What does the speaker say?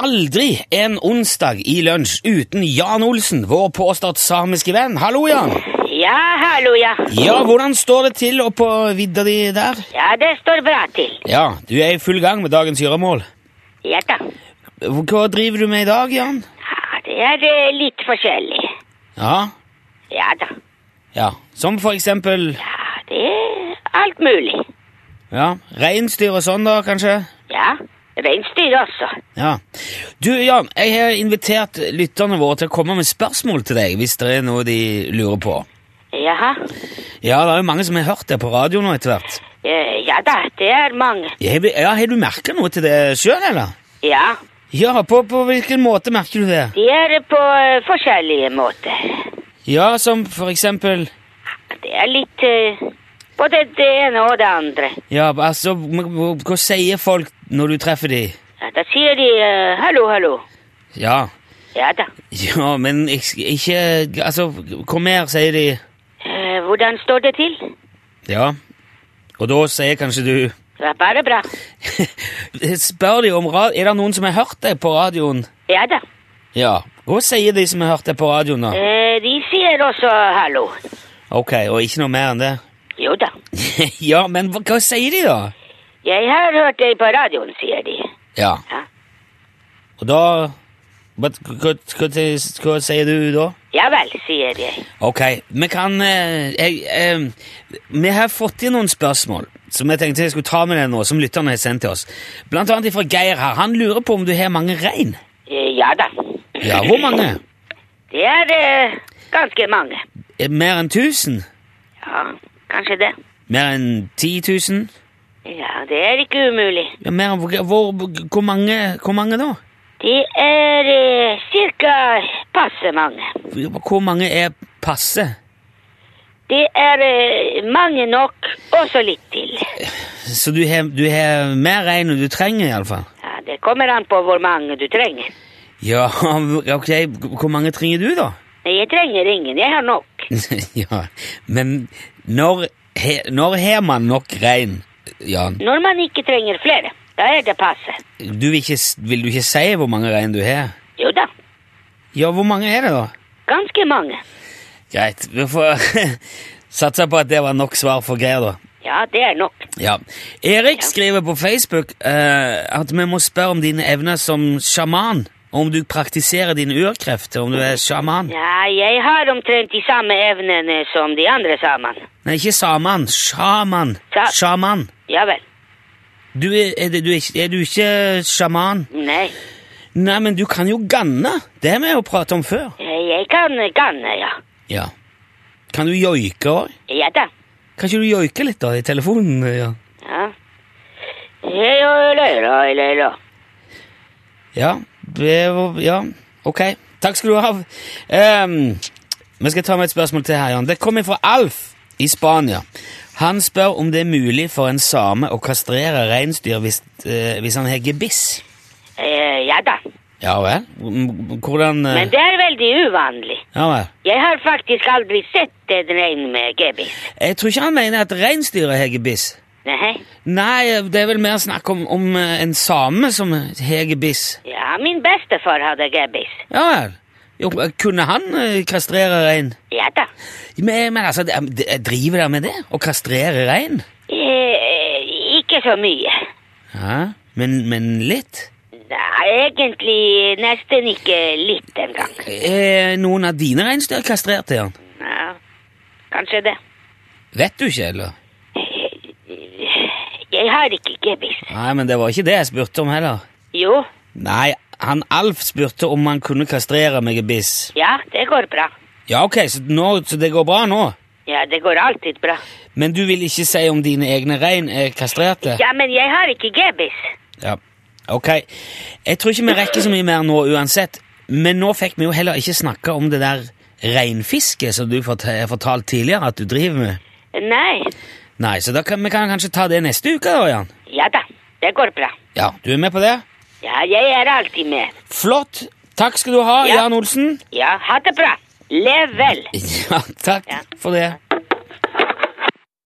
aldri en onsdag i lunsj uten Jan Olsen, vår påstått samiske venn. Hallo, Jan. Ja, hallo, ja. Ja, hvordan står det til oppå vidda di der? Ja, det står bra til. Ja, du er i full gang med dagens gjøremål. Ja da. Hva driver du med i dag, Jan? Ja, det er eh, litt forskjellig. Ja, Ja da. ja. Som for eksempel Ja, det er alt mulig. ja, reinsdyr og sånn, da, kanskje? Ja. Reinsdyr også. Ja. Du, Jan, jeg har invitert lytterne våre til å komme med spørsmål til deg hvis det er noe de lurer på. Jaha. Ja, det er jo mange som har hørt det på radio nå etter hvert. Eh, Ja da, det er mange. Har du- Ja, Har du merka noe til det sjøl, eller? Ja. Ja, på, på hvilken måte merker du det? De er på eh, forskjellige måter. Ja, som for eksempel Det er litt eh, både det ene og det andre. Ja, altså, m- m- hva sier folk når du treffer de? Ja, da sier de eh, hallo, hallo. Ja, Ja da. ja, men ik- ikke Altså, kom her, sier de. Eh, Hvordan står det til? Ja. Og da sier kanskje du Ja, bare bra. Spør de om ra- Er det noen som har hørt deg på radioen? Ja da. Ja. Hva sier de som har hørt deg på radioen, da? Eh, De sier også hallo. Ok, og ikke noe mer enn det? Jo da. ja, men hva, hva sier de, da? Jeg har hørt deg på radioen, sier de. Ja. Ja. Og da hva, hva, hva, hva sier du da? Ja vel, sier jeg. Ok, vi kan eh, jeg, eh, Vi har fått inn noen spørsmål som jeg tenkte jeg skulle ta med deg nå, som lytterne har sendt til oss. Blant annet fra Geir her. Han lurer på om du har mange rein. Eh, Ja da. Ja, hvor mange? Det er eh, ganske mange. Eh, Mer enn 1000? Ja, kanskje det. Mer enn 10 000? Ja, det er ikke umulig. Ja, mer enn, hvor, hvor, mange, hvor mange da? Det er eh, cirka passe mange. Hvor mange er passe? Det er eh, mange nok, og så litt til. Så du har, du har mer rein enn du trenger, iallfall? Ja, det kommer an på hvor mange du trenger. Ja, ok. Hvor mange trenger du, da? Nei, jeg trenger ingen, jeg har nok. ja, men når, he, når har man nok rein, Jan? Når man ikke trenger flere, da er det passe. Du vil, ikke, s- vil du ikke si hvor mange rein du har? Jo da, Ja, hvor mange er det, da? ganske mange. Greit, vi får satse på at det var nok svar for Geir, da. Ja, det er nok. Ja. Erik skriver på Facebook eh, at vi må spørre om dine evner som sjaman. Om du praktiserer dine urkrefter, om du er sjaman. Ja, jeg har omtrent de samme evnene som de andre sammen. Nei, ikke saman. Sjaman. Sa- Sjaman. Ja vel. Du er, er, det- du er, ikke- er du ikke sjaman? Nei, Nei, men du kan jo ganne. Det har vi jo pratet om før. jeg kan ganne, ja. Ja. Kan du joike òg? Ja da. Kan ikke du joike litt da i telefonen? Ja. Ja. Hei og løyra, løyra. ja. det var- ja. Ok. Takk skal du ha. Ehm, vi skal ta med et spørsmål til her, Jan. Det kommer fra Alf i Spania. Han spør om det er mulig for en same å kastrere reinsdyr hvis, eh, hvis han har gebiss. Eh, ja da. Ja vel? M- Hvordan eh, Men det er veldig uvanlig. Ja vel. Jeg har faktisk aldri sett en rein med gebiss. Jeg tror ikke han mener at reinsdyret har gebiss. Nei. Nei, det er vel mer snakk om, om eh, en same som har gebiss. Ja, min bestefar hadde gebiss. Ja vel. Jo, kunne han eh, kastrere rein? Ja da. Men, men altså, det- det- driver dere med det? Å kastrere rein? Eh, ikke så mye. Ja, men, men litt? Nei, egentlig nesten ikke litt engang. Er Eh, noen av dine reinsdyr kastrert, Jan? Ja, kanskje det. Vet du ikke, eller? Jeg har ikke gebiss. Nei, men det var ikke det jeg spurte om heller. Jo, Nei, han Alf spurte om han kunne kastrere med gebiss. ja, det går bra. Ja, ok, så, nå, så det går bra nå? Ja, det går alltid bra. Men du vil ikke si om dine egne rein er kastrerte? Ja, men jeg har ikke gebiss. Ja. Ok. Jeg tror ikke vi rekker så mye mer nå uansett. Men nå fikk vi jo heller ikke snakke om det der reinfisket som du fort- fortalte tidligere at du driver med. Nei, Nei, så da kan, vi kan kanskje ta det neste uke, da, Jan. ja da, det går bra. Ja, Du er med på det? Ja, jeg er alltid med. Flott. Takk skal du ha, Ja. Jan Olsen. Ja, ha det bra. Lev vel. Ja, takk Ja. for det.